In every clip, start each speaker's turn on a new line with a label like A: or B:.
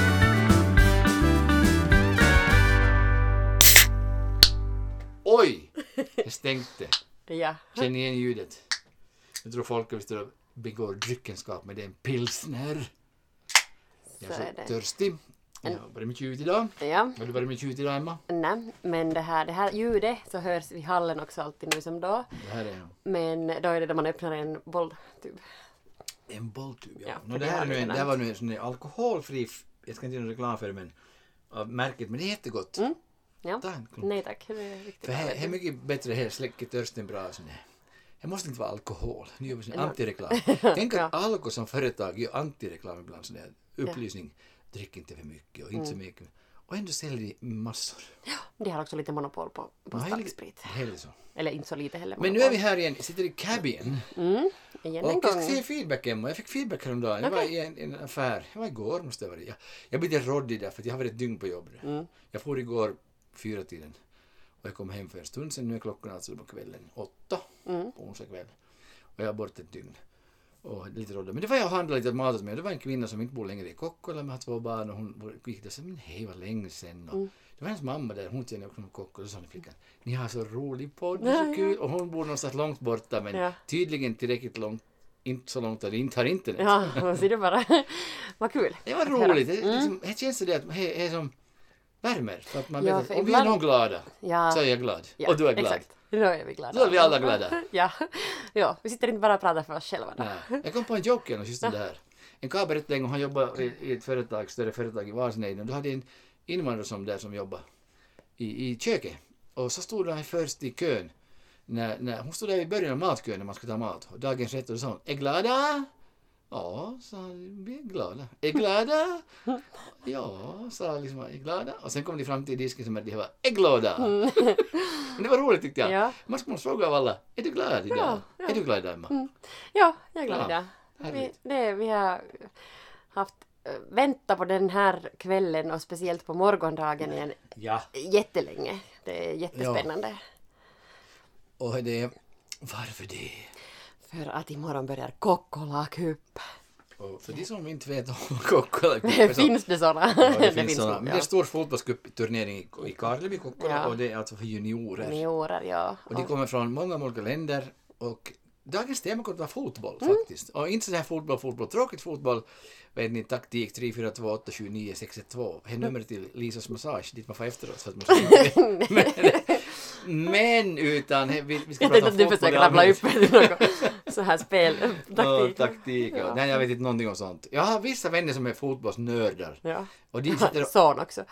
A: Oj! Jag stängde.
B: Ja.
A: Känner igen ljudet. Jag tror folk visst begår dryckenskap, men det är en pilsner. Jag är
B: Så är
A: så
B: det.
A: törstig. Jag har varit mycket ute idag.
B: ja.
A: Har du varit mycket ute idag, Emma?
B: Nej, men det här, det här ljudet så hörs i hallen också alltid nu som då.
A: Det här är
B: Men då är det när man öppnar en boll, typ.
A: en bolltub. Ja.
B: Ja,
A: Nå,
B: för
A: det,
B: det
A: här är
B: har
A: nu
B: du
A: en, det
B: nämnt.
A: här var nu en sån där alkoholfri, f- jag ska inte göra någon reklam för det, men av märket, men det är jättegott.
B: Mm. Ja.
A: Ta en klunk.
B: Nej tack, det är riktigt
A: För
B: bra.
A: här, här är mycket bättre här, släcker törsten bra. Sån här. Det måste inte vara alkohol. Nu gör vi sån antireklam. Tänk att Alko som företag gör antireklam ibland. Sån här upplysning. Drick inte för mycket och inte så mycket. Och ändå säljer de massor.
B: De har också lite monopol på, på
A: Det här är lite-
B: starksprit.
A: det här liksom. är så.
B: Eller inte så lite heller.
A: Men nu är vi här igen, sitter i cabin.
B: monopol. igen
A: Och
B: en
A: jag ska
B: gång.
A: säga feedback Emma, jag fick feedback häromdagen. Jag var i en, en affär, det var igår måste det ha varit. Jag, jag blir lite råddig där för att jag har varit ett dygn på jobbet.
B: Mm.
A: Jag for igår fyra tiden och jag kom hem för en stund sen. Nu är klockan alltså på kvällen åtta
B: Mm.
A: på onsdag kväll. Och jag är borta ett dygn. Och lite råddig. Men det var jag och handlade lite mat åt mig. Det var en kvinna som inte bor längre i Kokkola men har två barn och hon gick där och sa men hej vad länge sen. Och
B: Mm.
A: Det var hennes mamma där, hon känner också någon kock och så sa den flickan ni har så rolig podd, det är så kul. Och hon bor någonstans långt borta men
B: Ja.
A: tydligen tillräckligt långt, inte så långt att det inte har internet.
B: Ja, ser du bara. Vad kul.
A: Det var roligt. Det, liksom, det känns så det att det är som värmer. För att man
B: Mm. Ja,
A: vet
B: för
A: att om vi är
B: ibland-
A: någon glada
B: Ja.
A: så är jag glad.
B: Ja,
A: och du är glad.
B: Exakt. Då är vi glada.
A: Då är vi alla glada.
B: ja. ja, vi sitter inte bara och pratar för oss själva. då.
A: Nej. Jag kom på en joke genom
B: Ah.
A: just det här. En karl berättade en gång, han jobbade i, i ett företag, större företag i Varsenejden. Då hade en invandrare som där som jobbade i, i köket. Och så stod han först i kön. När, när, hon stod där i början av matkön när man skulle ta mat. Och dagens rätt och då sa hon, är glada? Ja, sa han, vi är glada. Är glada? Ja, sa han liksom, är glada? Och sen kom de fram till disken som de var, är glada? Men det var roligt tyckte jag.
B: Mm. Ja.
A: Man skulle fråga av alla, är du glad idag?
B: Ja, ja. Mm.
A: Är du glad idag, Emma?
B: Ja, jag är glad
A: Ja,
B: idag. Vi,
A: härligt.
B: det, vi har haft eh, vänta på den här kvällen och speciellt på morgondagen igen
A: Ja.
B: jättelänge. Det är jättespännande.
A: Och det är varför det?
B: För att imorgon börjar Kokkola Cup.
A: Och för de som inte vet om Kokkola Cup är så-
B: Finns det såna?
A: Ja, det finns såna. Men det är en
B: ja.
A: stor fotbollscupturnering i- i Karleby, Kokkola,
B: Ja.
A: och det är alltså för juniorer.
B: Juniorer, ja.
A: Och de kommer från många olika länder och dagens tema kommer att vara fotboll
B: Mm.
A: faktiskt. Och inte sån här fotboll, fotboll, tråkigt fotboll. Vet ni, taktik 342879612.
B: Mm.
A: Här är numret till Lisas massage, dit man får efteråt. Så att man men, men utan, vi, vi ska
B: Jag
A: prata
B: tänkte
A: om
B: att du
A: fotboll i
B: försöker rabbla
A: allmänhet.
B: upp något så här spel.
A: Ja,
B: Taktik.
A: taktik. Ja.
B: Ja.
A: Nej, jag vet inte någonting om sånt. Jag har vissa vänner som är fotbollsnördar.
B: Ja.
A: Och de sitter och,
B: Son också.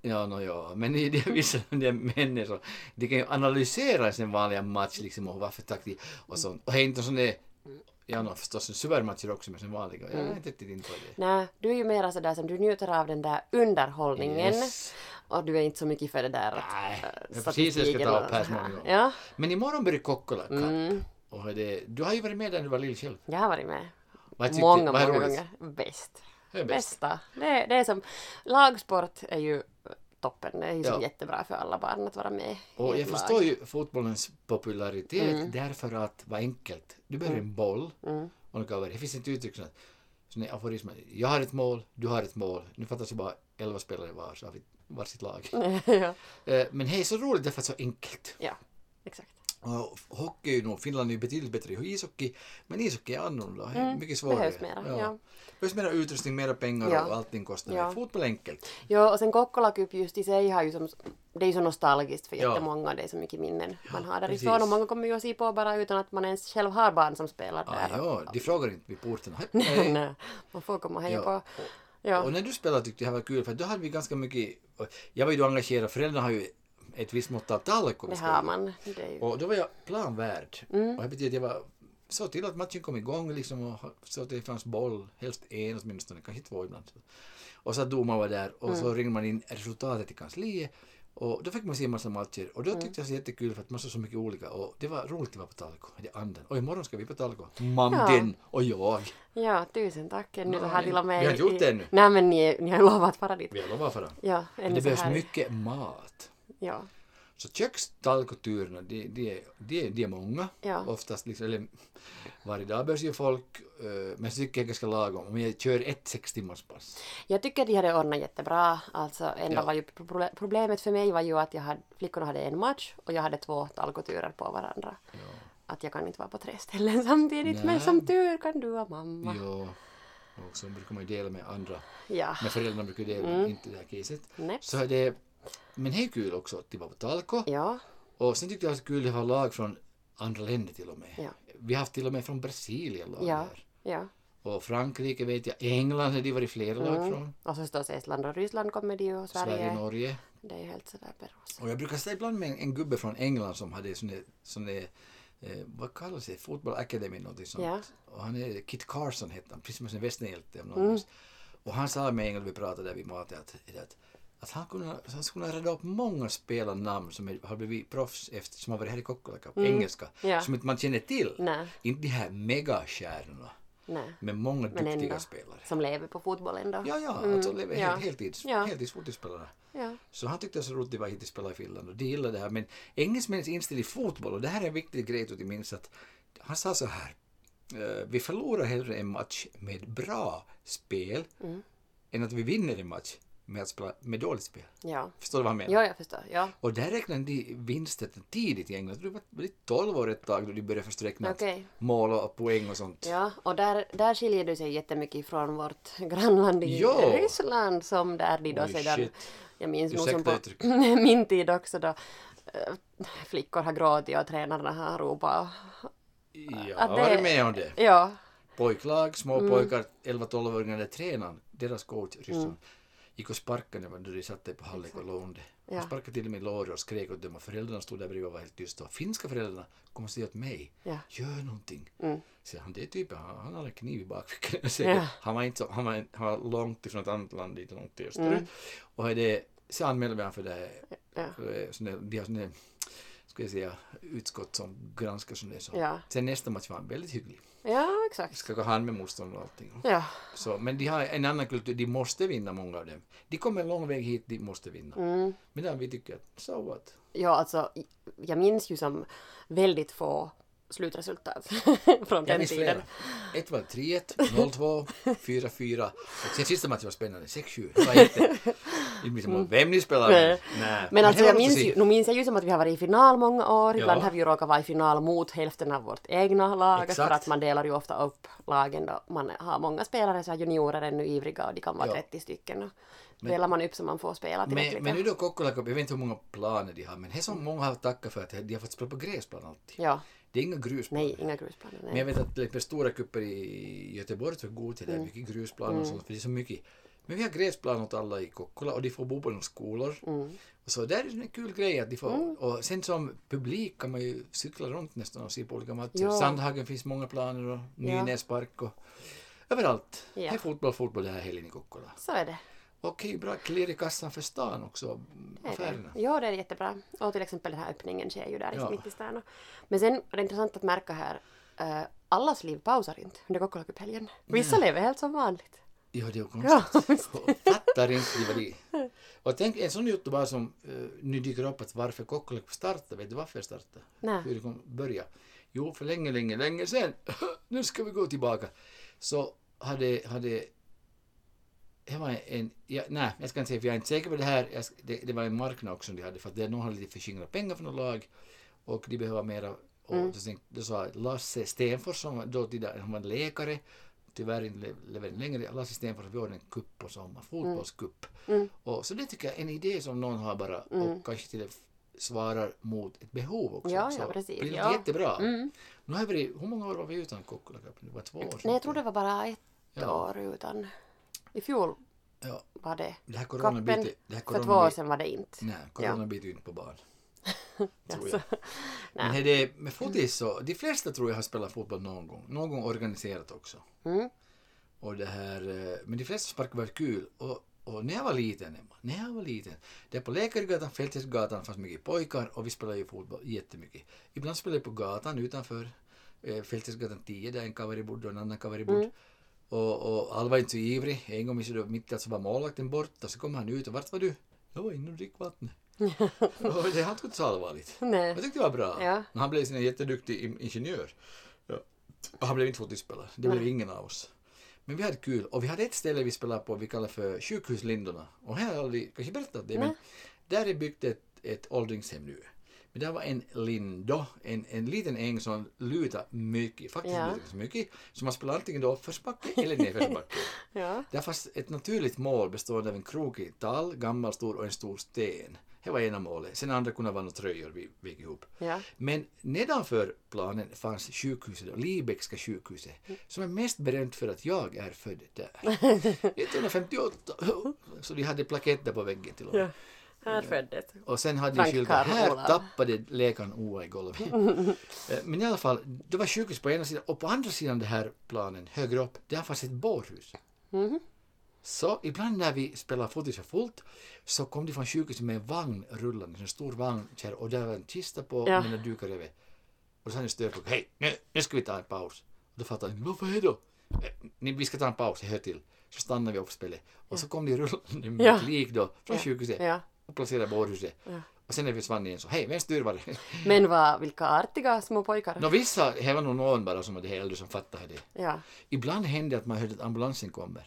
A: ja, no, ja, men det är vissa de är människor som de kan ju analysera sin vanliga match liksom och varför taktik och sånt. Och det är inte sån där, ja, no, förstås en supermatcher också men sen vanliga. Jag
B: Mm.
A: har inte riktigt in på det.
B: Nej, du är ju mera sådär som du njuter av den där underhållningen.
A: Yes.
B: Och du är inte så mycket för det där att...
A: Nej,
B: eh,
A: det är precis det jag ska
B: statistiken
A: ta
B: och
A: upp här
B: så här.
A: småningom.
B: Ja,
A: Men imorgon börjar Kokkola Cup.
B: Mm.
A: Och det, du har ju varit med där när du var lill själv.
B: jag har varit med.
A: Vad tyckte-
B: många,
A: vad är
B: många
A: roligt?
B: gånger. Bäst.
A: Det är bäst.
B: Bästa. Det, är- det är som... Lagsport är ju toppen. Det är ju
A: Ja.
B: som jättebra för alla barn att vara med
A: Och jag
B: i ett lag. Mm.
A: förstår ju fotbollens popularitet därför att, vad enkelt, du behöver en boll och något över. Det finns ett uttryck sånt, sån aforism, jag har ett mål, du har ett mål, nu fattas det bara elva spelare var så har vi varsitt lag.
B: Mm. ja.
A: Eh, Men det är så roligt därför att det är så enkelt.
B: ja, exakt.
A: Och hockey är ju nog, Finland är ju betydligt bättre i ishockey, men ishockey är annorlunda, det är mycket svårare.
B: Mm, behövs mera, ja.
A: Behövs mera utrustning, mera pengar
B: Ja.
A: och allting kostar.
B: Ja.
A: Fotboll är enkelt.
B: Jo, och sen Kokkola Cup just i sig har ju som... Det är ju så nostalgiskt för
A: Ja.
B: jättemånga. Det är så mycket minnen man har därifrån.
A: precis.
B: Och många kommer ju att se på bara utan att man ens själv har barn som spelar
A: Ah,
B: där.
A: ja, de frågar inte vid porten.
B: Eh, Nej, nej. Man får komma och heja
A: Ja.
B: på. Ja.
A: Och när du spelade tyckte jag det här var kul för då hade vi ganska mycket, jag var ju då engagerad, föräldrarna har ju ett visst mått av talk.
B: Det har man. Det är ju...
A: Och då var jag planvärd.
B: Mm.
A: Och det betyder att jag var, såg till att matchen kom igång liksom och såg att det fanns boll, helst en
B: Mm.
A: åtminstone, kanske två ibland. Och så att domaren var där och så ringde man in resultatet i kansliet Och då fick man se en massa matcher och då
B: Mm.
A: tyckte jag det var jättekul för att man såg så mycket olika och det var roligt att vara på Talgo, det anden. Och imorgon ska vi på Talgo, mamden och jag.
B: Ja, tusen tack. Nu har till och med...
A: vi har gjort det ännu.
B: Nej men ni, ni har ju lovat fara dit.
A: Vi har lovat för det.
B: Ja,
A: Men
B: ännu
A: det
B: så
A: behövs
B: här.
A: mycket mat.
B: Ja,
A: Så kökstalgoturerna, de, de, de, de är många.
B: Ja.
A: Oftast liksom, eller varje dag behövs ju folk, eh, men så tycker jag ganska lagom. Om jag kör ett sex timmars pass.
B: Jag tycker de hade ordnat jättebra. Alltså, enda
A: Ja.
B: var ju proble- problemet för mig var ju att jag hade, flickorna hade en match och jag hade två talgoturer på varandra. Att jag kan inte vara på tre ställen samtidigt.
A: Nej.
B: Men som tur kan du och mamma.
A: Ja. Och så brukar man ju dela med andra,
B: Ja.
A: men föräldrarna brukar ju dela,
B: Mm.
A: inte det här caset.
B: Nej.
A: Så det, men det är kul också att vara på Talko.
B: Ja.
A: Och sen tyckte jag att det var kul att ha lag från andra länder till och med.
B: Ja.
A: Vi har haft till och med från Brasilien lag
B: Ja.
A: här.
B: Ja.
A: Och Frankrike vet jag, England har det varit flera lag från.
B: Och så förstås Estland och Ryssland kommer det ju och Mm. Sverige.
A: Sverige, Norge.
B: det är ju helt sådär beroende.
A: Och jag brukar säga ibland med en, en gubbe från England som hade sån där, sån där eh, vad kallas det, Football Academy någonting sånt.
B: Ja.
A: Och han är, Kit Carson hette han, precis som en västernhjälte om någon minns.
B: Mm.
A: Och han sa med England, vi pratade där vid maten, att, att, att han, kunde, han skulle kunna rada upp många spelarnamn som är- har blivit proffs efter, som har varit här i Kokkolaka, på engelska,
B: Mm. Ja.
A: som inte man känner till.
B: Nej.
A: Inte de här megastjärnorna,
B: Nej.
A: men många
B: Men
A: duktiga
B: ändå.
A: spelare.
B: Som lever på fotbollen då.
A: Ja, ja, alltså lever
B: ja.
A: hel, heltids,
B: Ja.
A: heltidsfotbollsspelare.
B: Ja.
A: Så han tyckte det var så roligt att vara hit och spela i Finland och de gillade det här. Men engelsmännens inställning i fotboll, och det här är en viktig grej till minns att han sa så här. eh, Vi förlorar hellre en match med bra spel
B: Mm.
A: än att vi vinner en match med, att spela, med dåligt spel.
B: Ja.
A: Förstår du vad han menar?
B: Jo, jag förstår. Ja.
A: Och där räknade de vinsten tidigt i England. Det var väldigt 12 år ett tag då de började först räkna att
B: Okej.
A: mål och poäng och sånt.
B: Ja, och där, där skiljer du sig jättemycket ifrån vårt grannland i
A: Ja.
B: Ryssland som där de då
A: Oj,
B: sedan,
A: shit.
B: jag minns nog
A: Ursäkta
B: som på min tid också då, eh, flickor har gråtit och tränarna har ropat.
A: Jag
B: Att
A: har
B: det-
A: varit med om det.
B: Ja,
A: pojklag, små
B: Mm.
A: pojkar, 11-12-åringar, när tränaren, deras coach, ryssen,
B: Mm.
A: gick och sparkade när de satte på halvlek och lånade.
B: Ja.
A: Han sparkade till och med i låret och skrek åt dem och föräldrarna stod där bredvid och var helt tysta. Och finska föräldrarna kom och sa åt mig,
B: Ja. Mm.
A: gör någonting. Så han, det är typen, han, han har en kniv i bakfickan. säger
B: Ja.
A: Han, var inte så, han, var, en- han var långt ifrån ett annat land, dit långt till öster. Och det, så anmälde vi honom för det här,
B: Mm. ja.
A: eh, sån där- de har sån där, ska jag säga, utskott som granskar sånt där. Så.
B: Ja.
A: Sen nästa match var han väldigt hygglig.
B: ja exakt.
A: Ska gå hand med motståndare och allting.
B: Ja,
A: Så, men de har en annan kultur, de måste vinna många av dem. De kommer en lång väg hit, de måste vinna.
B: Mm.
A: Medan vi tycker att, so what?
B: ja alltså, jag minns ju som väldigt få slutresultat från
A: Jag
B: den
A: minns flera.
B: tiden.
A: Ett var 3-1, 0-2, 4-4 och sen sista matchen var spännande, 6-7. Det var inte... Jag minns inte vem ni spelar med.
B: Mm. Nej.
A: Nej.
B: Men alltså
A: det
B: jag
A: var
B: minns
A: så
B: ju,
A: sikt.
B: nu minns jag ju som att vi har varit i final många år, ibland
A: Ja.
B: har vi ju råkat vara i final mot hälften av vårt egna lag,
A: Exakt.
B: för att man delar ju ofta upp lagen då, man har många spelare så här juniorer ännu ivriga och de kan vara
A: Ja.
B: 30 stycken och delar man upp så man får spela
A: Men,
B: tillräckligt.
A: men nu då Kokkola Cup, jag vet inte hur många planer de har, men det är så många har tackat för att de har fått spela på gräsplan alltid.
B: Ja,
A: Det är inga grusplaner.
B: nej, inga grusplaner.
A: Men jag
B: Nej.
A: vet att till exempel stora cuper i Göteborg så går till det, mm. mycket grusplaner och sånt, för det är så mycket. Men vi har gräsplan åt alla i Kokkola och de får bo på några skolor.
B: Mm.
A: Och så där är det en kul grej att de får, och sen som publik kan man ju cykla runt nästan och se på olika matcher.
B: Ja.
A: Sandhagen finns många planer och Nynäspark och överallt.
B: Ja.
A: Det är fotboll, fotboll det här helgen i Kokkola.
B: Så är det.
A: Okej, bra klirr i kassan för stan också, affärerna.
B: Ja, det är jättebra. Och till exempel den här öppningen sker ju där
A: Ja.
B: i mitt i stan. och- Men sen är det intressant att märka här, eh, allas liv pausar inte under Kokkolakuphelgen. Vissa lever helt som vanligt.
A: Ja, det är ju
B: Ja,
A: konstigt. Fattar inte vad det är. Och tänk en sån youtubare som uh, nu dyker upp att varför Kokkolakko startade, vet du varför jag startade?
B: Nej.
A: Hur det kom börja? Jo, för länge, länge, länge sedan, nu ska vi gå tillbaka, så hade, hade det var en, ja, nej, jag ska inte säga för jag är inte säker på det här, jag, ska- det, det var en marknad också de hade för att det- någon hade lite förskingrat pengar från något lag och de behöver mera. Och då, tänkte, då sa Lasse Stenfors, som var då tidigare, han var en läkare, tyvärr inte le- lever inte längre, Lasse Stenfors vi ordnade en kupp på sommaren, fotbollskupp.
B: Mm.
A: Och, så det tycker jag är en idé som någon har bara och kanske till och med svarar mot ett behov också.
B: Ja, ja,
A: så
B: precis,
A: blir det
B: ja. Mm.
A: jättebra. Nu har vi, varit- hur många år var vi utan Kokkolakappen? Det var två år sedan.
B: Nej, jag tror det var bara ett
A: Ja.
B: år utan... I fjol
A: Ja,
B: var det.
A: det här
B: Kappen,
A: coronabiten, det här
B: för två år
A: coronabiten,
B: sedan var det inte.
A: Nej, corona biter ju inte på barn. tror jag.
B: Nej.
A: Men är det, med fotis så, de flesta tror jag har spelat fotboll någon gång. Någon gång organiserat också.
B: Mm.
A: Och det här, eh, men de flesta sparkar var kul. Och Och när jag var liten, Emma, när jag var liten, där på Läkargatan, Fältesgatan fanns mycket pojkar och vi spelade ju fotboll jättemycket. Ibland spelade jag på gatan utanför eh, Fältesgatan 10 där en kavari bodde och en annan kavari bodde. Och, och alla var inte så ivrig. En gång minns jag då, mitt i allt så var målvakten borta, så kom han ut och vart var du? Jag var inne och drick vatten. och det han tog inte så allvarligt.
B: Nej.
A: Jag tyckte det var bra.
B: Ja.
A: Men Han blev sen en jätteduktig in- ingenjör. Ja. Och Han blev inte fotbollsspelare. Det blev ingen av oss. Men vi hade kul. Och vi hade ett ställe vi spelade på vi kallar för Sjukhuslindorna. Och här har jag aldrig kanske berättat det, men
B: Nej.
A: där är byggt ett, ett åldringshem nu. Men där var en lindo, en, en liten äng som lutar mycket, faktiskt
B: Ja.
A: lutar ganska mycket. Så man spelar antingen då uppförsbacke eller nedförsbacke.
B: Ja.
A: Där fanns ett naturligt mål bestående av en krokig tall, gammal stor och en stor sten. Det var ena målet. Sen andra kunde vara några tröjor vi vek ihop.
B: Ja.
A: Men nedanför planen fanns sjukhuset, då, Libekska sjukhuset, som är mest berömt för att jag är född där. 1958! Så de hade plaketter på väggen till och med.
B: Här föddes.
A: Och sen hade jag
B: Frank
A: skyltar. Här
B: Carola.
A: tappade läkaren Oa i golvet. Eh, Men i alla fall, det var sjukhus på ena sidan och på andra sidan den här planen, högre upp, där fanns ett bårhus.
B: Mhm.
A: Så ibland när vi spelade fotis för fullt så kom de från sjukhuset med en vagn rullande, en stor vagn kär, och där var en kista på
B: Ja.
A: med några dukar över. Och så hade en störklocka, hej nu, nu ska vi ta en paus. Och då fattade jag, varför är då? "Eh, ni- Vi ska ta en paus, hör till. Så stannade vi upp spelet och så kom de rullande med
B: Ja.
A: ett lik då från sjukhuset
B: Ja.
A: och placerade bårhuset. Och sen när vi försvann igen så, hej, vems tur var det?
B: Men vad, vilka artiga små pojkar.
A: Nå vissa, det var nog någon bara som var det här äldre som fattade det.
B: Ja.
A: Ibland hände att man hörde att ambulansen kommer.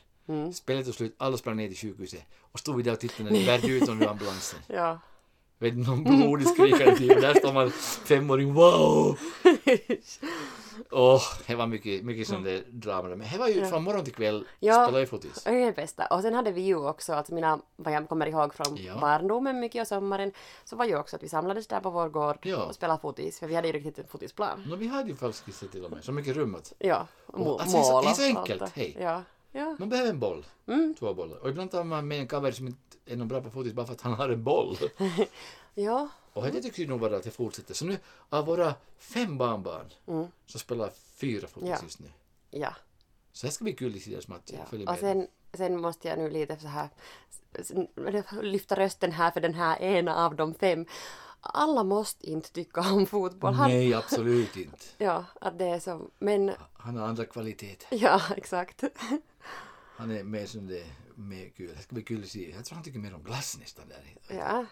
A: Spelet tog slut, alla sprang ner till sjukhuset och stod vi där och tittade när de värde ut under ambulansen.
B: Ja.
A: Vet du, någon blodig skrikande typ och där står man femåring, wow! Åh, det var mycket, mycket sån där drama där. Men det var ju från morgon till kväll,
B: Ja.
A: spelade ju fotis.
B: Det är det bästa. Och sen hade vi ju också, alltså mina, vad jag kommer ihåg från
A: Ja.
B: barndomen mycket och sommaren, så var ju också att vi samlades där på vår gård
A: Ja. Mm.
B: och spelade fotis, för vi hade ju riktigt en fotisplan.
A: Nå, vi hade ju falskisser till och med, så mycket rummet.
B: Ja. Och må-
A: alltså, det är så- det är
B: måla
A: så
B: och
A: enkelt,
B: allt det.
A: hej.
B: Ja. Ja.
A: Man behöver en boll, två bollar. Och ibland tar man med en cover som inte är någon bra på fotis bara för att han har en boll.
B: Ja.
A: Och det tycker jag nog bara att det fortsätter. Så nu av våra fem barnbarn så spelar fyra fotis
B: Mm. Ja.
A: just nu.
B: ja.
A: Så det ska bli kul i sidans match.
B: Ja.
A: Följ
B: Och
A: med.
B: sen, sen måste jag nu lite så här s- lyfta rösten här för den här ena av de fem. Alla måste inte tycka om fotboll. Han,
A: Nej, absolut inte.
B: ja, att det är så. Men
A: Han har andra kvaliteter.
B: ja, exakt.
A: Han är mer som det är, mer kul. Det ska bli kul att se. Jag tror han tycker mer om glass nästan där.
B: Ja,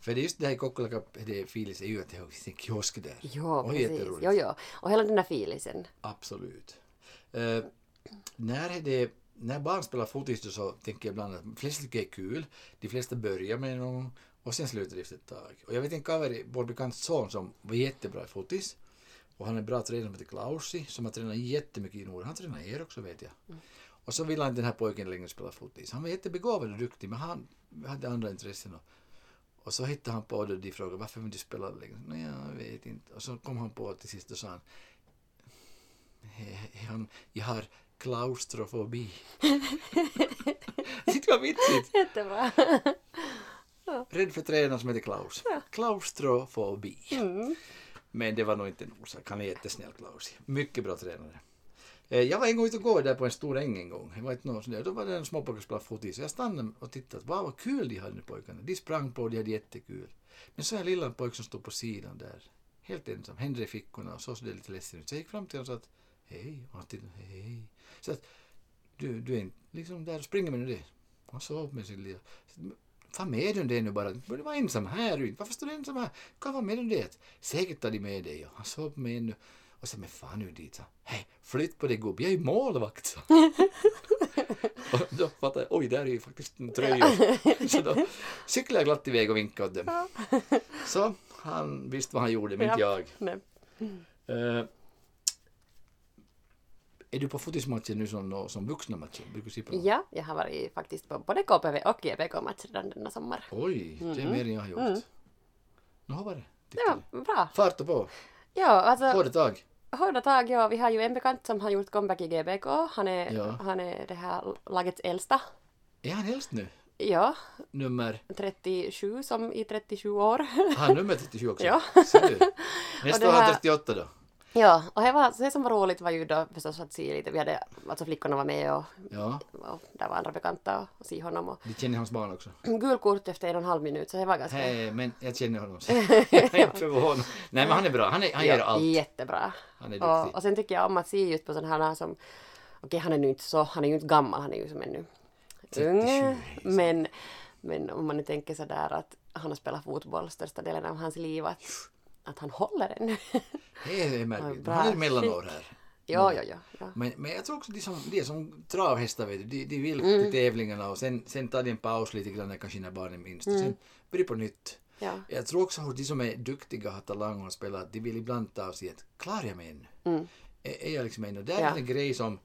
A: För det är just det här i Kokkolaka, det Filis är ju att det finns en kiosk där.
B: jo,
A: Och
B: precis.
A: jätteroligt.
B: Jo, jo. Och hela den där filisen.
A: Absolut. Eh, när, är det, när barn spelar fotis då så tänker jag ibland att de flesta tycker det är kul, de flesta börjar med någon och sen slutar det efter ett tag. Och jag vet en kaveri, vår bekants son som var jättebra i fotis och han är en bra tränare som heter Klausi som har tränat jättemycket i Norden. Han tränar er också vet jag. Och så ville han inte den här pojken längre spela fotis. Han var jättebegåvad och duktig men han hade andra intressen. Och, och så hittade han på det och de frågade varför vill du spela längre? Nej, jag vet inte. Och så kom han på till sist och sa han "He- han, jag har klaustrofobi. det var vitsigt.
B: Jättebra.
A: Rädd för tränaren som heter Klaus. Klaustrofobi. Men det var nog inte en orsak. Han är jättesnäll Klaus. Mycket bra tränare. Eh, Jag var en gång ute och går där på en stor äng en gång. Det var inte någon sån där. Då var det en småpojke som spelade fotis. Så jag stannade och tittade. Wow, vad kul de hade nu pojkarna. De sprang på och de hade jättekul. Men så en lilla pojke som stod på sidan där. Helt ensam. Händer i fickorna och såg sådär lite ledsen ut. Så jag gick fram till honom och sa att hej. Och han tittade. Hej. Så att du, du är inte liksom där och springer med det. Han sa upp med sin lilla... Vad med om det nu bara? Du borde vara ensam här ute. Varför står du ensam här? Du kan vara med om det. Säkert tar de med dig. Och Han sa upp mig ännu. Och sen, men fan nu dit. sa han. Hej, flytt på dig gubb. Jag är målvakt. sa han. och då fattade jag, oj, där är ju faktiskt en tröja. Så då cyklade jag glatt iväg och vinkade åt dem. Så han visste vad han gjorde, men inte
B: Ja.
A: jag.
B: Nej.
A: Eh, är du på fotismatcher nu som, nå- som vuxna matcher? Brukar du se på dem?
B: Ja, jag har varit faktiskt på både KPV och GPK-match redan denna sommar.
A: Oj, det är mer än jag har gjort. Nå, vad var det?
B: Det var bra.
A: Fart och på,
B: Ja, alltså
A: hårda tag.
B: Hårda tag, ja. Vi har ju en bekant som har gjort comeback i GBK. Han är,
A: Ja.
B: han är det här lagets äldsta.
A: Är han helst nu?
B: Ja,
A: Nummer,
B: 37 som i 37 år.
A: han nummer 37 också?
B: Ja.
A: Ser du? Nästa
B: det
A: år har han
B: här-
A: 38 då.
B: Ja, och det, var, det som var roligt var ju då förstås att se lite, vi hade, alltså flickorna var med och,
A: Ja.
B: och där var andra bekanta och, och se honom och
A: De känner hans barn också.
B: gul kort efter en och en halv minut så det var ganska
A: Hej, men jag känner honom. så. Jag är inte förvånad. Nej, men han är bra. Han, är, han ger allt.
B: jättebra.
A: Han är
B: Och,
A: duktig.
B: och sen tycker jag om att se just på sådana här som, okej han är nu inte så, han är ju inte gammal, han är ju som ännu
A: 37
B: ung.
A: liksom.
B: Men, men om man nu tänker sådär att han har spelat fotboll största delen av hans liv, att, att han håller ännu.
A: Det är märkligt.
B: Bra
A: Han är mellanår här. Mm.
B: ja, ja, ja, ja.
A: Men, men jag tror också de som, de som travhästar, vet du, de, de vill till tävlingarna och sen, sen tar de en paus lite grann, kanske när barnen minst. och Sen börjar på nytt.
B: ja.
A: Jag tror också hos de som är duktiga, har talang och spelar, de vill ibland ta och säga att klarar jag mig ännu? Är, är jag liksom ännu? Det är
B: Ja.
A: en grej som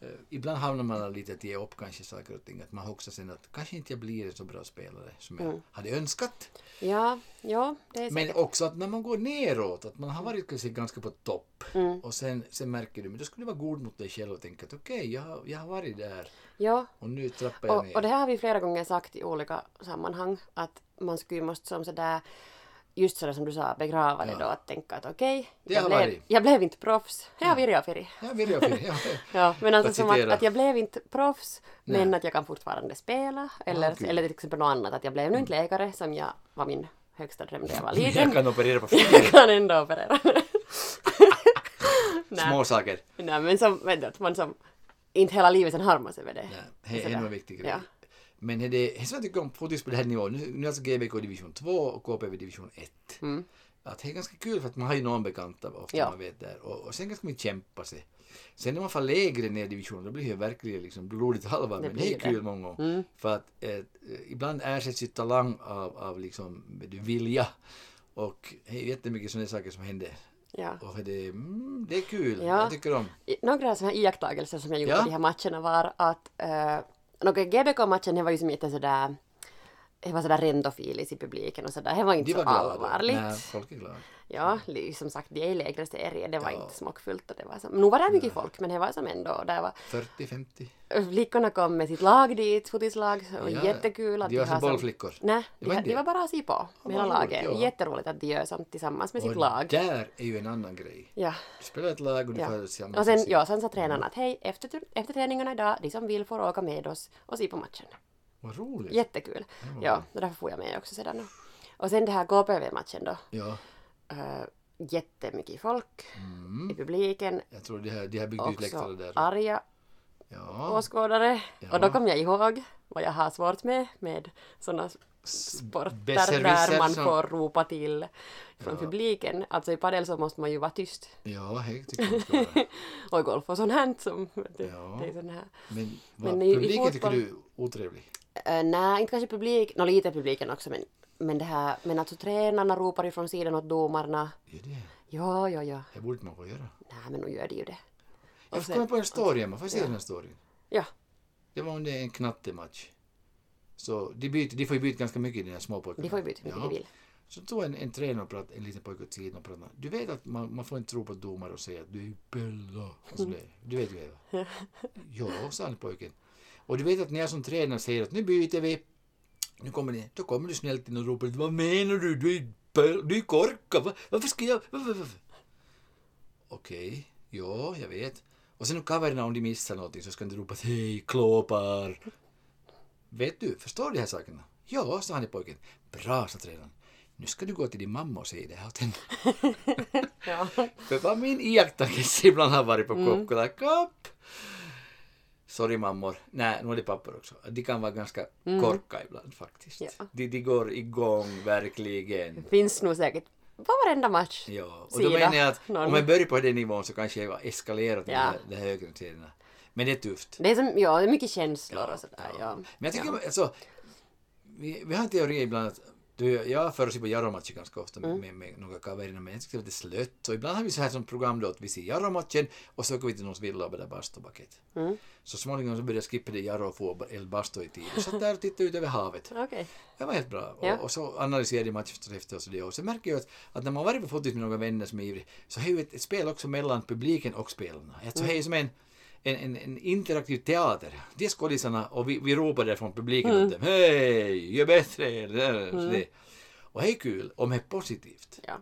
A: eh, Ibland hamnar man lite att ge upp kanske saker och ting. Att man också sen att kanske inte jag blir en så bra spelare som jag hade önskat.
B: Ja, ja, det är
A: Men
B: säkert.
A: också att när man går neråt, att man har varit kanske ganska på topp
B: Mm.
A: och sen, sen märker du, men då skulle du vara god mot dig själv och tänka att okej, jag, har- jag har varit där
B: Ja.
A: och nu trappar jag
B: Och,
A: ner.
B: och det här har vi flera gånger sagt i olika sammanhang att man skulle ju måste som sådär just sådär som du sa begrava det
A: Ja.
B: då att tänka att okej,
A: Det
B: jag,
A: har
B: blev,
A: varit.
B: jag blev inte proffs. Här har vi Reofiri.
A: Ja, vill jag, vill jag.
B: Ja, men alltså
A: Att
B: som att,
A: citera.
B: att jag blev inte proffs men att jag kan fortfarande spela eller,
A: okej. Mm.
B: eller till exempel något annat att jag blev nu inte läkare som jag var min högsta dröm när jag var liten.
A: jag kan operera på fler
B: jag kan ändå operera. nej,
A: små saker.
B: nej, men som, men att man som inte hela livet sen harmas över det.
A: Nej, det är
B: Sådär.
A: en viktig grej.
B: Alltså Ja.
A: Men det det är så jag tycker om fotis på den här nivån. Nu, nu är alltså GBK division 2 och KPV division 1. Att det är ganska kul för att man har ju någon bekanta ofta
B: Mm. Ja.
A: man vet där. Och, och sen ganska mycket kämpa sig. Sen när man får lägre ner i divisionen då blir det ju verkligen liksom blodigt allvar.
B: Det
A: Men det är
B: blir det. Mm.
A: kul många gånger. För att eh, ibland ersätts ju talang av, av liksom vet du, vilja. Och det är jättemycket sådana saker som händer.
B: Ja.
A: Och det, mm, det är kul.
B: Ja.
A: Jag tycker om.
B: I- några sådana här iakttagelser som jag gjorde
A: Ja.
B: på de här matcherna var att uh, GBK-matchen den var ju som inte sådär det var sådär rendofilis i publiken och sådär. Det var inte
A: De var
B: så
A: glada.
B: allvarligt.
A: Nej, folk är glada.
B: Ja, li- som sagt, det är i lägre serier. Det var
A: Ja.
B: inte smockfullt och det var som... Nu var det mycket folk, men det var som ändå... Där var,
A: 40-50.
B: flickorna kom med sitt lag dit, fotislag. Det var
A: Ja,
B: jättekul att
A: de var
B: har
A: som bollflickor.
B: Nej,
A: Det
B: de,
A: var
B: var
A: inte
B: de
A: det.
B: var bara att se på med hela
A: vad roligt,
B: laget.
A: ja.
B: Jätteroligt att de gör sånt tillsammans med sitt
A: Och
B: lag.
A: där är ju en annan grej.
B: Ja.
A: Du spelar ett lag och du
B: Ja.
A: får tillsammans.
B: Och sen,
A: med sig.
B: ja, sen sa tränaren att hej, efter, efter träningarna idag, de som vill får åka med oss och se på matchen.
A: Vad roligt.
B: Jättekul.
A: Mm.
B: Ja, och därför får jag med också sedan. då. Och sen det här KPV-matchen då.
A: Ja,
B: Uh, jättemycket folk i publiken.
A: Mm. jag tror de har, de har byggt ut läktare
B: Också
A: där.
B: arga
A: Ja,
B: åskådare. Och då
A: Ja.
B: kom jag ihåg vad jag har svårt med, med sådana sporter där
A: besserwisser
B: man
A: som-
B: får ropa till från publiken. Alltså i padel så måste man ju vara tyst.
A: ja det tycker jag ska vara.
B: Och i golf och sånt här som... Det,
A: Ja.
B: det är sån här.
A: Men, vad,
B: Men i- i
A: publiken tycker
B: fotboll-
A: du är otrevlig?
B: Eh, nej, inte kanske publik, nå lite publiken också men, men det här, men alltså tränarna ropar ju från sidan åt domarna.
A: Ja, det,
B: Ja, ja, ja.
A: det borde man få göra.
B: Nej, men nu gör det ju det. Och
A: Jag får
B: sen-
A: komma på en story, Emma. Får jag se den här storyn?
B: Ja,
A: Det var under en knattematch. Så de, byter, de får ju byta ganska mycket, de här småpojkarna.
B: de får ju byta hur mycket de vill.
A: Så tog en, en tränare och pratade, en liten pojke åt sidan och pratade. Du vet att man, man får inte tro på domare och säga att du är Bella. Och så där. Du vet ju Eva. ja, sa han pojken. Och du vet att när jag som tränare säger att nu byter vi. Nu kommer ni, då kommer du snällt in och ropar vad menar du? Du är, Bella, du är korkad. Va? Varför ska jag? Va, va, va? Okej, ja, jag vet. Och sen om kaverna, om de missar någonting så ska de ropa hej, klåpar. Vet du, förstår du de här sakerna? Ja, sa han i pojken. Bra, sa tränaren. Nu ska du gå till din mamma och säga det här åt henne.
B: Ja.
A: För vad min iakttagelse ibland har varit på
B: Mm.
A: Kokkola Cup. Sorry mammor. Nej, nu är det pappor också. De kan vara ganska korka ibland faktiskt.
B: Mm. Ja.
A: De, de går igång verkligen.
B: Finns nog säkert på varenda match.
A: Ja, och då
B: sida
A: menar jag att
B: någon.
A: om man börjar på den nivån så kanske jag har eskalerat med
B: Ja.
A: de här högre serierna. Men det är tufft.
B: Det är som, ja, det är mycket känslor och sådär. Ja.
A: Men jag tycker alltså, vi, vi har en teori ibland att du, jag föreslår på Jaromatcher ganska ofta
B: Mm.
A: med, med, med några kaverna men jag tycker att det är slött och ibland har vi så här som program då att vi ser Jaromatchen och så åker vi till någons villa och börjar bastubaket.
B: Mm.
A: Så småningom så började jag skippa det Jaro och få El Basto i tid och satt där och tittade ut över havet.
B: Okej.
A: Det var helt bra.
B: Ja.
A: Och, och så analyserade jag matchen förstås efter och så det. Och så märker jag att, att när man har varit på fotis med några vänner som är ivriga så är ju ett, ett spel också mellan publiken och spelarna. Alltså
B: Mm.
A: det är ju som en, en, en, en interaktiv teater. De är skådisarna och vi, vi ropar där från publiken
B: Mm.
A: åt dem. Hej, gör bättre! Eller, så det. Och det är kul om det är positivt.
B: Ja.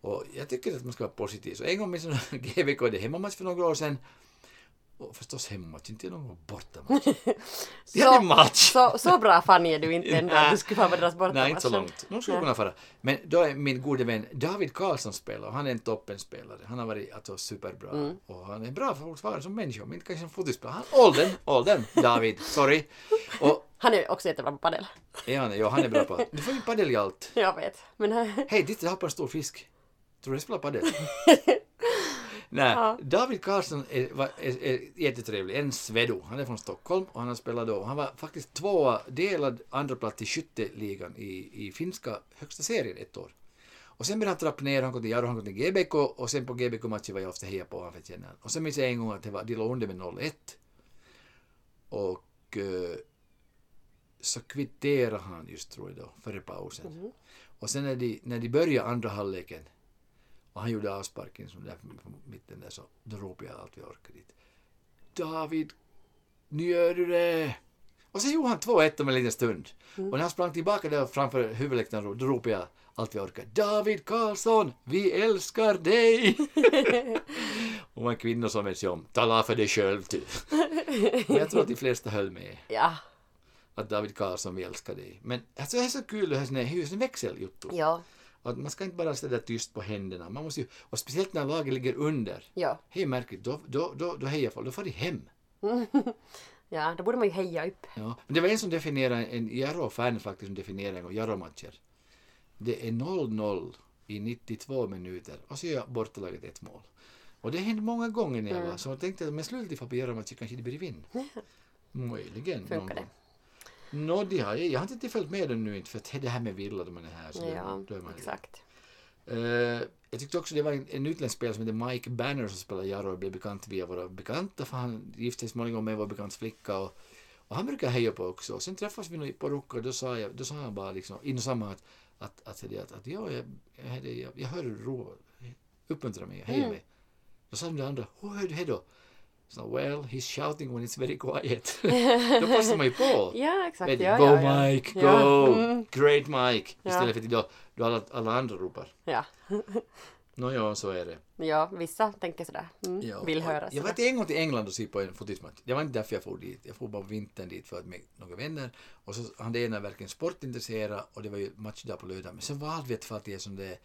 A: Och jag tycker att man ska vara positiv. Så en gång minns jag GVK hade hemmamatch för några år sedan. Och förstås hemmamatch, inte någon bortamatch. De
B: Så-
A: hade match!
B: Så, så bra Fanny är du inte ändå att du skulle vara med deras bortamatcher.
A: Nej, inte så långt. De skulle
B: Nej.
A: kunna fara. Men då är min gode vän David Karlsson spelar och han är en toppenspelare. Han har varit alltså, superbra
B: Mm.
A: och han är bra fortfarande som människa, men inte kanske som fotbollsspelare. Han- Åldern, åldern, David, sorry. Och
B: Han är också jättebra på padel.
A: är han, ja, han är bra på... Du får ju padel i allt.
B: Jag vet. Men
A: Hej, dit jag hoppar en stor fisk. Tror du jag spelar padel? Nej, David Karlsson är, var- är, är jättetrevlig. En svedo. Han är från Stockholm och han har spelat då. Han var faktiskt tvåa, delad andra plats i skytteligan i, i finska högsta serien ett år. Och sen började han trappa ner, han kom till Jaro, han kom till GBK och sen på GBK-matchen var jag ofta heja på honom för att känna honom. Och sen minns jag en gång att det var, de låg under med 0-1. Och eh, så kvitterade han just tror jag då, före pausen. Och sen när de, när de började andra halvleken och han gjorde avsparken som där på mitten där så då ropade jag allt vi orkade dit. David, nu gör du det! Och sen gjorde han 2-1 om en liten stund. Och när han sprang tillbaka där framför huvudläktaren då ropade jag allt vi orkar. David Karlsson, vi älskar dig! och en kvinna som vet sig om. Tala för dig själv du. Men jag tror att de flesta höll med
B: ja,
A: att David Karlsson, vi älskar dig. Men alltså, det är så kul det här sån här- hur en växeljuttu.
B: ja,
A: Att man ska inte bara sitta där tyst på händerna. Man måste ju, och speciellt när laget ligger under.
B: ja,
A: Hej märkligt, då, då, då, då hejar folk, då får de hem.
B: ja, då borde man ju heja upp.
A: Ja. Men det var en som definierade, en Jarro-fan faktiskt, som definierade en gång Jarro-matcher. Det är 0-0 i 92 minuter och så gör bortalaget ett mål. Och det hände många gånger när jag
B: Mm.
A: var så jag tänkte att men sluta för på Jarro-matcher kanske det blir vinn. Möjligen. någon
B: Funkar det?
A: gång. Nå, de har, jag har inte följt med dem nu inte för att det här med Villa då man är här så då är
B: Ja,
A: man- då är man
B: exakt.
A: Eh, jag tyckte också det var en, en utländsk spelare som hette Mike Banner som spelade Jarro och blev bekant via våra bekanta för han gifte sig småningom med vår bekants flicka och, och han brukar jag heja på också. Sen träffades vi nog i Porukka och då sa, jag, då sa han bara liksom inom samma att, att, att, att, att, att ja, jag, jag, jag, jag hör Ro uppmuntra mig och
B: Mm.
A: heja mig. Då sa den andra, hur hör du det då? Så, well, he's shouting when it's very quiet. då passar man ju på.
B: Ja, exakt.
A: Vet du,
B: Ja,
A: go
B: ja, ja.
A: Mike, go!
B: Ja. Mm.
A: Great Mike!
B: Ja.
A: Istället för att idag, då alla, alla andra ropar.
B: Ja.
A: Nåja, så är det.
B: ja, vissa tänker sådär. Mm. Vill höra
A: Jag
B: sådär.
A: var till en gång till England och såg på en fotismatch. Det var inte därför jag for dit. Jag for bara vintern dit för att med några vänner. Och så han det ena verkligen sportintresserad och det var ju matchdag på lördag. Men sen valde vi att falla till som det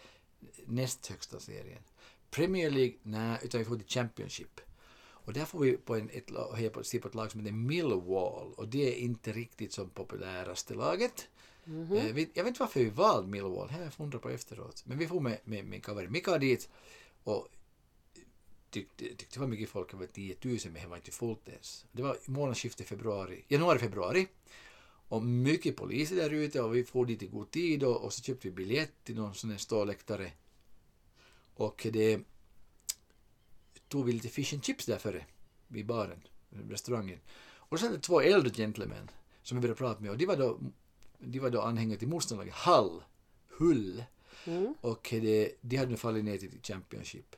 A: näst högsta serien. Premier League, nej, utan vi for till Championship. Och där får vi på en, ett, la- heja på, se på ett lag som heter Millwall och det är inte riktigt som populäraste laget.
B: Mhm.
A: Eh, vi, jag vet inte varför vi valde Millwall, det har jag funderat på efteråt. Men vi får med, med min kaverin Mika dit och tyckte, tyckte det var mycket folk, över 10 000 men det var inte fullt ens. Det var månadsskiftet februari, januari-februari och mycket poliser där ute och vi for dit i god tid och, och så köpte vi biljett till någon sån här ståläktare och det tog vi lite fish and chips där före vid baren, restaurangen. Och då satt det två äldre gentlemän som vi började prata med och de var då, de var då anhängare till motståndarlaget Hall, Hull. Och det, de hade nu fallit ner till Championship.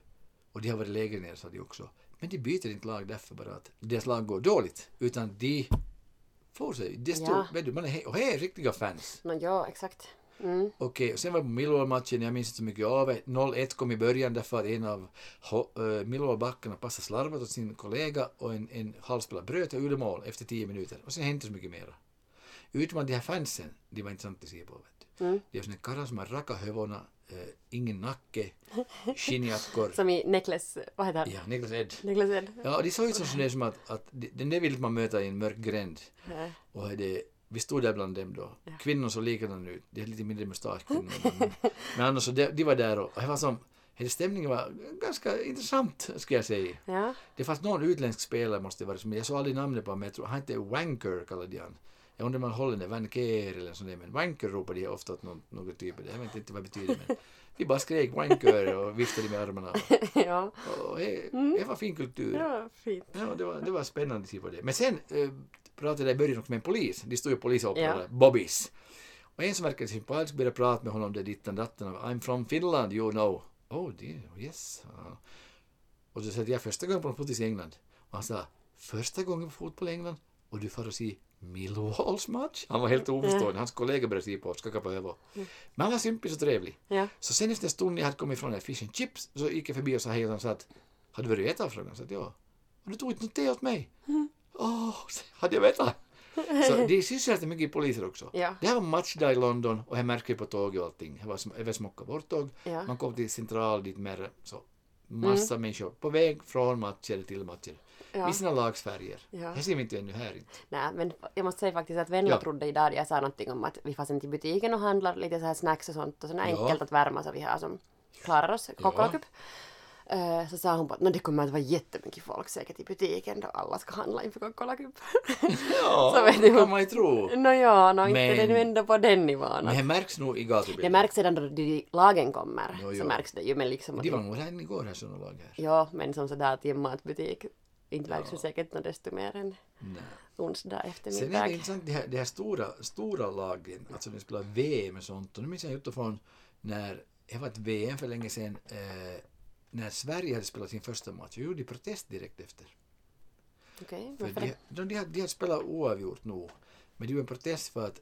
A: Och de har varit lägre ner sa de också. Men de byter inte lag därför bara att deras lag går dåligt. Utan de får sig. Det står,
B: Ja.
A: vet du, man är, he- och här är riktiga fans.
B: Men ja, exakt. Mm.
A: Okej, och sen var det på Millwall-matchen, jag minns inte så mycket av det. 0-1 kom i början därför att en av ho- eh, Millwall-backarna passade slarvat åt sin kollega och en, en halvspelare bröt och gjorde mål efter 10 minuter. Och sen hände inte så mycket mera. Utom att de här fansen, de var intressanta att se på. Vet du. Det var såna karlar som har raka hövona, eh, ingen nacke, skinnjackor.
B: Som i Necklace, vad heter han?
A: Ja, Niklas Ed.
B: Necklace Ed?
A: Ja, och det såg ut som, sådär som att, att de- den där vill man möta i en mörk gränd.
B: Nej.
A: Och det, vi stod där bland dem då. Kvinnor såg likadana ut. Det är lite mindre mustasch kvinnor. Men, men annars så de, de var där och och det var som, hela stämningen var ganska intressant skulle jag säga.
B: Ja,
A: Det fanns någon utländsk spelare måste det vara, men jag såg aldrig namnet på honom. men Jag tror, han hette Wanker kallade de han. Jag undrar om han håller det, Wanker eller sånt där. Men Wanker ropade jag ofta åt någon, någon typ. Jag vet inte vad det betyder men vi bara skrek Wanker och viftade med armarna.
B: ja.
A: Och det, det var fin kultur.
B: ja fint.
A: Ja, det var, det var spännande tid på det. Men sen eh, pratade jag i början också med en polis. De stod ju polis och
B: Ja.
A: yeah. Bobbys. Och en som verkade sympatisk började prata med honom där dittan datten. I'm from Finland, you know. Oh dear, yes. Ja. Och så sa jag första gången på fotboll i England. Och han sa första gången på fotboll i England och du får se Millwalls match? Han var helt oförstående. Hans kollega började se på och skaka på huvudet. Men han var simpel och trevlig.
B: Ja.
A: Så sen efter en stund när jag hade kommit ifrån en fish and chips så gick jag förbi och sa hej och han sa att hade du velat äta? frågade han. Så att ja. Och du tog inte något te åt mig.
B: Mm.
A: Åh, hade jag vetat? Så det syns ju mycket i poliser också.
B: Ja.
A: Det här var matchdag i London och jag märkte ju på tåget och allting. Det var sm- över smocka vårt tåg.
B: Ja. Mm.
A: Man kom till central dit mer så massa människor på väg från matcher till matcher.
B: Ja.
A: I sina lagsfärger.
B: Ja.
A: Det ser vi inte ännu här inte.
B: Nej, men jag måste säga faktiskt att Venla
A: Ja.
B: trodde idag jag sa någonting om att vi fast inte i butiken och handlar lite så här snacks och sånt och sånt
A: Ja.
B: enkelt att värma så vi har som klarar oss, kockolakupp. Eh, Så sa hon bara att "Nå, det kommer att vara jättemycket folk säkert i butiken då alla ska handla inför typ." kockolakupp.
A: Ja,
B: Så vet
A: det
B: du.
A: kan man ju tro.
B: Mm. Nåja, no, inte
A: Men-
B: det nu ändå på den nivån.
A: Men det märks nog i
B: Det
A: gatubilden.
B: märks sedan då de lagen kommer.
A: Jo,
B: så
A: jo.
B: märks det ju men liksom...
A: De var nog här igår här sådana lag här.
B: Ja, men som sådär till en matbutik. Inte märks det säkert något desto mer än
A: Nej.
B: onsdag
A: Sen är
B: eftermiddag.
A: det intressant, de här, de här stora, stora lagen, alltså när de spelar VM och sånt, och nu minns jag utifrån när, det var ett VM för länge sedan, eh, när Sverige hade spelat sin första match, jag gjorde protest direkt efter.
B: Okej,
A: För
B: varför
A: de,
B: det?
A: de, de, hade- de hade spelat oavgjort nog, men det var en protest för att,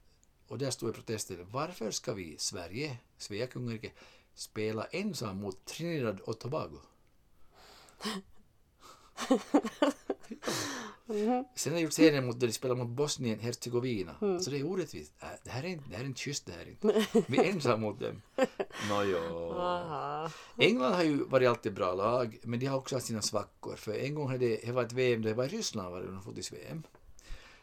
A: och där stod i protesten, varför ska vi, Sverige, Svea kungarike, spela ensam mot Trinidad och Tobago? Sen har jag gjort serien mot, där de spelar mot Bosnien Herzegovina. Så det är orättvist. Äh, det, här är inte, det här är inte schysst det här är inte. Vi är ensamma mot dem. Nåjo.
B: Aha.
A: England har ju varit alltid bra lag, men de har också haft sina svackor. För en gång hade det var ett VM, det var i Ryssland var det de fått i VM.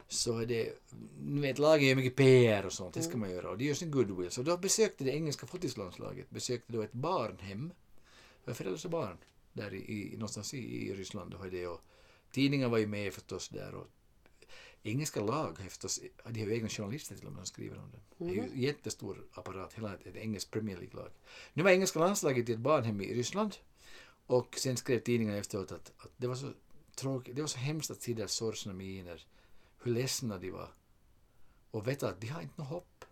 A: Så hade det, ni vet lagen gör mycket PR och sånt, det ska man göra. Och det gör sin goodwill. Så då besökte det engelska fotbollslandslaget, besökte då ett barnhem för föräldrar och barn där i, i, någonstans i, i Ryssland. Då har det, och tidningar var ju med förstås där och engelska lag har ju förstås, de har ju egna journalister till och med som skriver om det. Det är ju en jättestor apparat, hela ett, ett engelskt Premier League-lag. Nu var engelska landslaget i ett barnhem i Ryssland och sen skrev tidningarna efteråt att, att det var så tråkigt, det var så hemskt att se deras sorgsna miner, hur ledsna de var och veta att de har inte något hopp.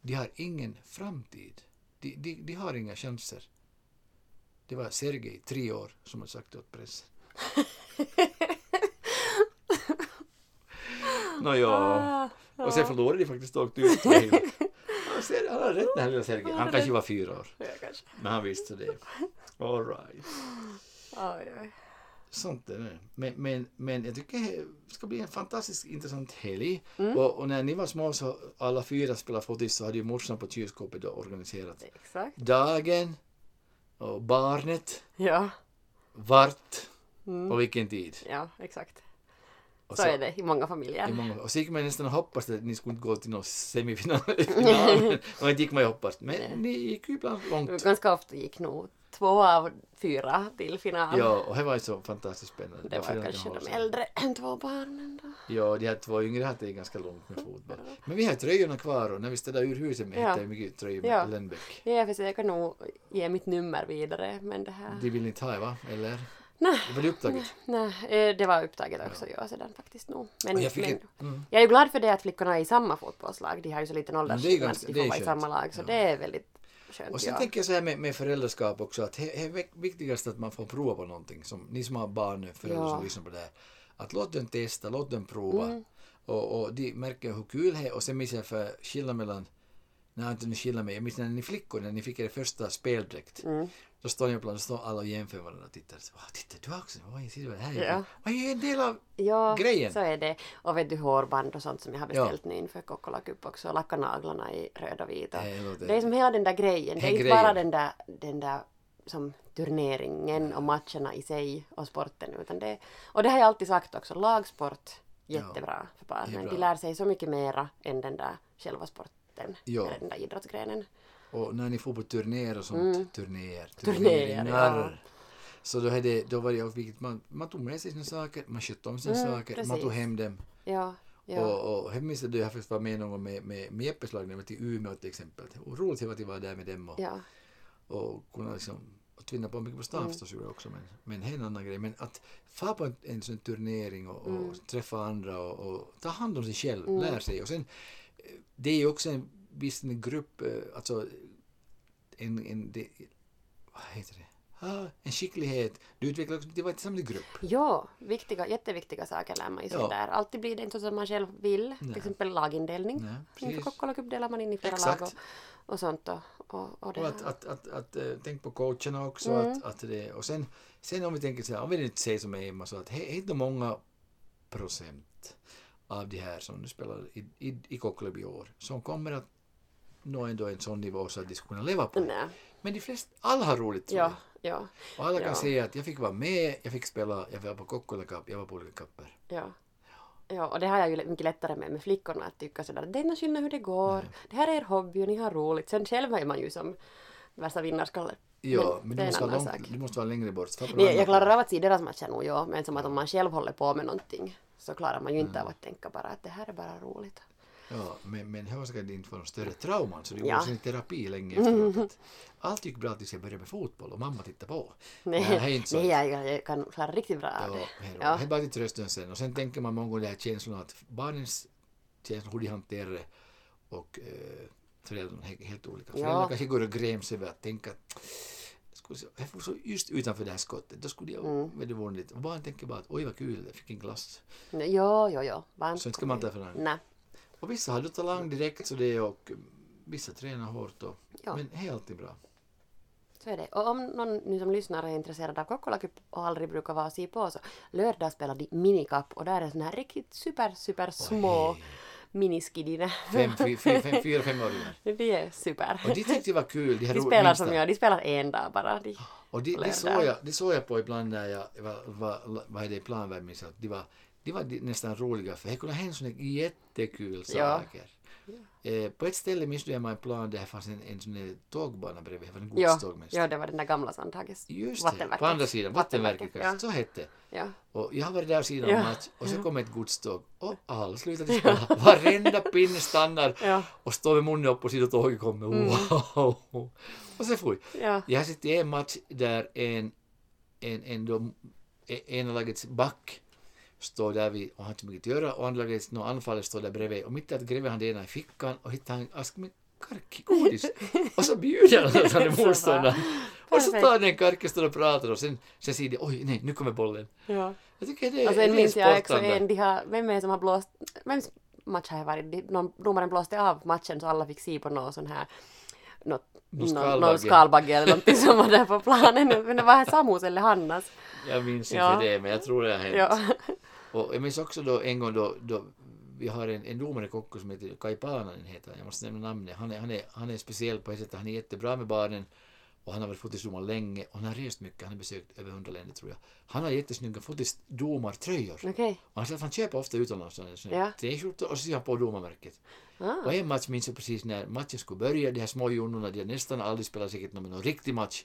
A: De har ingen framtid. De, de, de har inga chanser. Det var Sergej, tre år, som hade sagt det åt pressen. Nåja.
B: Ah,
A: Och sen förlorade de faktiskt och åkte ut. Han ser- Han har rätt den här lilla Sergej. Han kanske var fyra år,
B: Ja, kanske.
A: men han visste det. All right.
B: Oj, oj.
A: Sånt är det. Men, men, men jag tycker det ska bli en fantastiskt intressant helg.
B: Mm.
A: Och, och när ni var små så alla fyra spelade fotis så hade ju morsan på kylskåpet då organiserat
B: Exakt.
A: dagen och barnet,
B: Ja,
A: vart
B: Mm.
A: och vilken tid.
B: ja exakt.
A: Och
B: Så
A: så-
B: är det i många
A: I
B: familjer.
A: många, och så gick man nästan och hoppas att ni skulle inte gå till någon semifinal. final. och inte gick man ju hoppas. Men ni gick ju ibland långt.
B: Ganska ofta gick nog två av fyra till final.
A: Ja, och det var ju så fantastiskt spännande.
B: det var
A: Föräldrar
B: kanske
A: håller
B: de
A: sig.
B: äldre än två barnen då.
A: Ja, de här två yngre hade det ganska långt med fotboll. Men vi har tröjorna kvar och när vi städade ur huset med
B: Ja.
A: hittade vi mycket tröjor med
B: Ja.
A: Lennbäck.
B: Ja, jag försöker nog ge mitt nummer vidare men det här...
A: De vill inte ha va? Eller?
B: Nej.
A: Det var det upptaget.
B: Nej, eh, det var upptaget också ja. jag sedan faktiskt nog. Men,
A: Och
B: jag,
A: jag fick
B: men
A: ett- mm.
B: jag är ju glad för det att flickorna är i samma fotbollslag. De har ju så liten åldersskillnad
A: ganska-
B: så de
A: det är
B: får vara i
A: skönt.
B: samma lag. Så
A: Ja.
B: det är väldigt skönt.
A: Och sen
B: ja.
A: tänker jag så här med, med föräldraskap också att det är viktigast att man får prova på någonting. Som, ni som har barn nu, föräldrar
B: Ja. Mm.
A: som lyssnar på det här. Att låt dem testa, låt dem prova. Och, och de märker hur kul det är. Och sen minns jag för skillnad mellan, nej inte nu skillnad men jag minns när ni flickor, när ni fick er första speldräkt.
B: Mm.
A: Då står ni ibland, då står alla och jämför varandra och tittar. Så, "Åh, titta du har också, oj, ser du vad det här är?
B: Ja.
A: Oj, jag är en del av
B: Ja,
A: grejen.
B: så är det. Och vet du hårband och sånt som jag har
A: Ja.
B: beställt nu inför Kokkola Cup också. Lacka naglarna i röd och vit. Och
A: Det låter-
B: det är som hela den där grejen. Det är
A: Den
B: inte
A: grejen.
B: bara den där, den där som turneringen och matcherna i sig och sporten. Utan det, och det har jag alltid sagt också, lagsport jättebra för
A: det är
B: barnen.
A: bra.
B: De lär sig så mycket mera än den där själva sporten.
A: Ja.
B: Eller den där idrottsgrenen.
A: Och när ni får på turnéer och sånt, turnéer,
B: Mm. Turnéer,
A: Så då, hade, då var det också viktigt, man, man tog med sig sina saker, man skötte om sina saker, man
B: Mm, precis.
A: tog hem dem.
B: Ja, ja.
A: Och, och jag minns att jag faktiskt var med någon gång med, med, med Jeppes lag när jag var till Umeå till exempel. Och roligt det var att jag var där med dem och,
B: ja.
A: och kunna liksom och tvinna på mycket på stan förstås gjorde jag också men, men det är en annan grej. Men att få på en, en sån turnering och, och träffa andra och, och ta hand om sig själv, lär sig. Och sen, eh, det är ju också en viss en grupp, eh, alltså en, en det, vad heter det? ah, en skicklighet. Du utvecklar också, det var tillsammans i grupp.
B: Ja, viktiga, jätteviktiga saker lär man ju sig
A: Ja.
B: där. Alltid blir det inte så som man själv vill.
A: Nej.
B: Till exempel lagindelning.
A: Nej,
B: Inför
A: precis.
B: Kokkolagrupp delar man in i flera
A: Exakt.
B: lag och, och sånt. Och, och, och det
A: Och
B: här.
A: att, att, att, att, eh, tänk på coacherna också.
B: Mm.
A: Att, att det, och sen, sen om vi tänker så här, om vi nu inte säger som Emma så att hej, inte många procent av de här som nu spelar i, i, i Kokkeleby i år som kommer att nå ändå en sån nivå så att de ska kunna leva på det.
B: Nej,
A: Men de flesta, alla har roligt tror
B: Mm. ja,
A: jag.
B: ja,
A: Och alla kan
B: Ja.
A: säga att jag fick vara med, jag fick spela, jag var på Kokkola Cup, jag var på olika cuper.
B: ja. Ja, och det har jag ju mycket lättare med, med flickorna att tycka sådär det är ingen skillnad hur det går, det här är er hobby och ni har roligt. Sen själv är man ju som värsta vinnarskalle.
A: Ja, men,
B: Mm, det
A: du,
B: är
A: måste
B: en
A: vara
B: annan
A: långt,
B: sak.
A: du måste vara längre bort. Svara på
B: Nej,
A: någon
B: jag
A: annan
B: klarar av att se deras matcher nog, ja, men som att om man själv håller på med någonting så klarar man ju inte av att tänka bara att det här är bara roligt.
A: Ja, men, men jag ska inte få någon större trauman så det
B: Ja.
A: går sin terapi länge efteråt. att Allt gick bra tills jag började med fotboll och mamma tittade på.
B: Nej,
A: det här är inte så.
B: nej jag, jag kan klara riktigt bra av
A: ja,
B: det.
A: hej då.
B: Ja,
A: Helt bara till trösten sen. Och sen tänker man många gånger de här känslorna att barnens känslor, hur de hanterar det och eh, föräldrarna är helt olika. Föräldrarna kanske går och gräms över att tänka att skulle se- jag får så just utanför det här skottet, då skulle jag mm. väldigt vanligt. Och barn tänker bara att oj vad kul, jag fick en glass.
B: jo, jo, jo. Varmt.
A: Så inte ska man ta för någon.
B: Nej,
A: Och vissa hade talang direkt så det och vissa tränar hårt och,
B: Ja.
A: men helt alltid bra.
B: så är det. Och om någon nu som lyssnar är intresserad av Kokkola Cup och aldrig brukar vara och se på så lördag spelar de minikapp och där är såna här riktigt super, super små
A: hej.
B: miniskidiner.
A: Fem, fy- fy- fem, fyra, femåringar.
B: Det är super.
A: Och de tyckte det var kul. De, här
B: De
A: ro-
B: spelar
A: minsta.
B: som jag, de spelar en dag bara. De,
A: Och det, det,
B: lärde.
A: såg jag, det såg jag på ibland när jag var, var, var det i planvärmning. så att Det var, det var nästan roliga för det kunde hända sådana jättekul
B: Ja.
A: saker. Eh, på ett ställe minns du jag en plan där det fanns en, en sån där tågbana bredvid. Det var en
B: ja,
A: godstågvattenverket.
B: ja, det var den där gamla Sandhagens
A: Just det, på andra sidan, vattenverket kanske. Så hette det.
B: Ja.
A: Och jag har varit där och sidan
B: Ja.
A: om match och så kom ett godståg och alla slutade spela. Varenda pinne stannar
B: Ja.
A: och står med munnen upp och sidan tåget kommer.
B: Mm.
A: Wow! Och så for jag.
B: Ja. ja.
A: Jag har sett en match där en, en, en, de, en lagets back står där vid, och har inte så mycket att göra, och andra lagets no, anfallare står där bredvid och mitt i allt gräver han det ena i fickan och hittar en ask med karkgodis. Och så bjuder han åt han
B: Så
A: är
B: bra.
A: motståndaren. Och så
B: Perfekt.
A: tar den karken och står och pratar och sen, sen säger de oj, nej, nu kommer bollen.
B: ja.
A: Jag tycker det,
B: Och
A: det
B: sen
A: är
B: minns jag också
A: sportande.
B: Alltså, en, de har, vem är det som har blåst, vems match har det varit? De- Någon, domaren blåste av matchen så alla fick se på någon sån här något,
A: Någon
B: någon, någon
A: skalbagge.
B: skalbagge eller någonting som var där på planen. Men det var här Samus eller Hannas.
A: Jag minns
B: Ja.
A: inte det, men jag tror det har hänt.
B: Ja.
A: Och jag minns också då en gång då, då vi har en, en domare i Kokko som heter Kai Paananen heter han, jag måste nämna namnet. Han är, han är, han är speciell på ett sätt, han är jättebra med barnen och han har varit fotisdomare länge och han har rest mycket, han har besökt över hundra länder tror jag. Han har jättesnygga fotisdomartröjor.
B: Okej.
A: Och han säger att han köper ofta utomlands sådana
B: Ja.
A: ja. t-skjortor och så ser han på domarmärket.
B: Ah.
A: Och en match minns jag precis när matchen skulle börja, de här små junnorna, de har nästan aldrig spelat säkert någon, någon riktig match.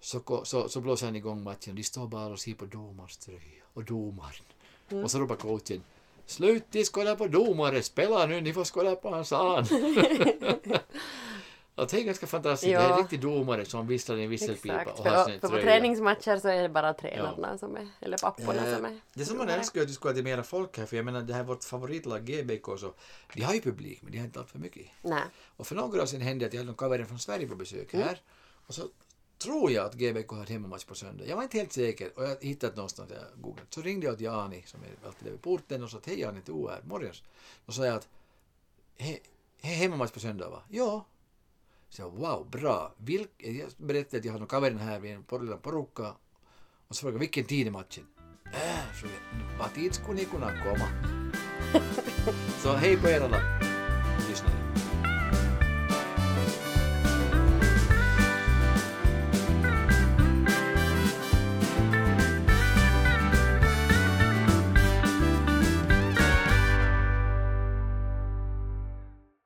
A: Så, ko- så, så blåser han igång matchen, de står bara och ser på domarens tröja och domaren.
B: Mm.
A: Och så ropar coachen Slut i skåda på domare, spela nu, ni får skåda på hans an. och det är ganska fantastiskt, det är
B: Ja.
A: en riktig domare som visslar Typ i en visselpipa
B: Exakt.
A: och har
B: För,
A: sin
B: för på
A: tröja.
B: träningsmatcher så är det bara tränarna som är, eller papporna som är.
A: Eh, Det som man
B: domare.
A: önskar är att det skulle vara lite mera folk här, för jag menar det här vårt favoritlag GBK så, de har ju publik men de har inte allt för mycket.
B: Nej.
A: Och för några år sedan hände att jag hade någon kavare från Sverige på besök här. Och så tror jag att GBK har ett hemmamatch på söndag. Jag var inte helt säker och jag hade hittat någonstans, jag googlat. Så ringde jag till Jani som är alltid där vid porten och sa att hej Jani, du är här, morgens. Då sa jag att he, he, hemmamatch på söndag va? Ja. Så jag wow, bra. Vilk, jag berättade att jag har någon kavare här vid en por- liten porukka. Och så frågade jag vilken tid är matchen? Äh, så jag, vad tid skulle ni kunna komma? så hej på er alla lyssnare.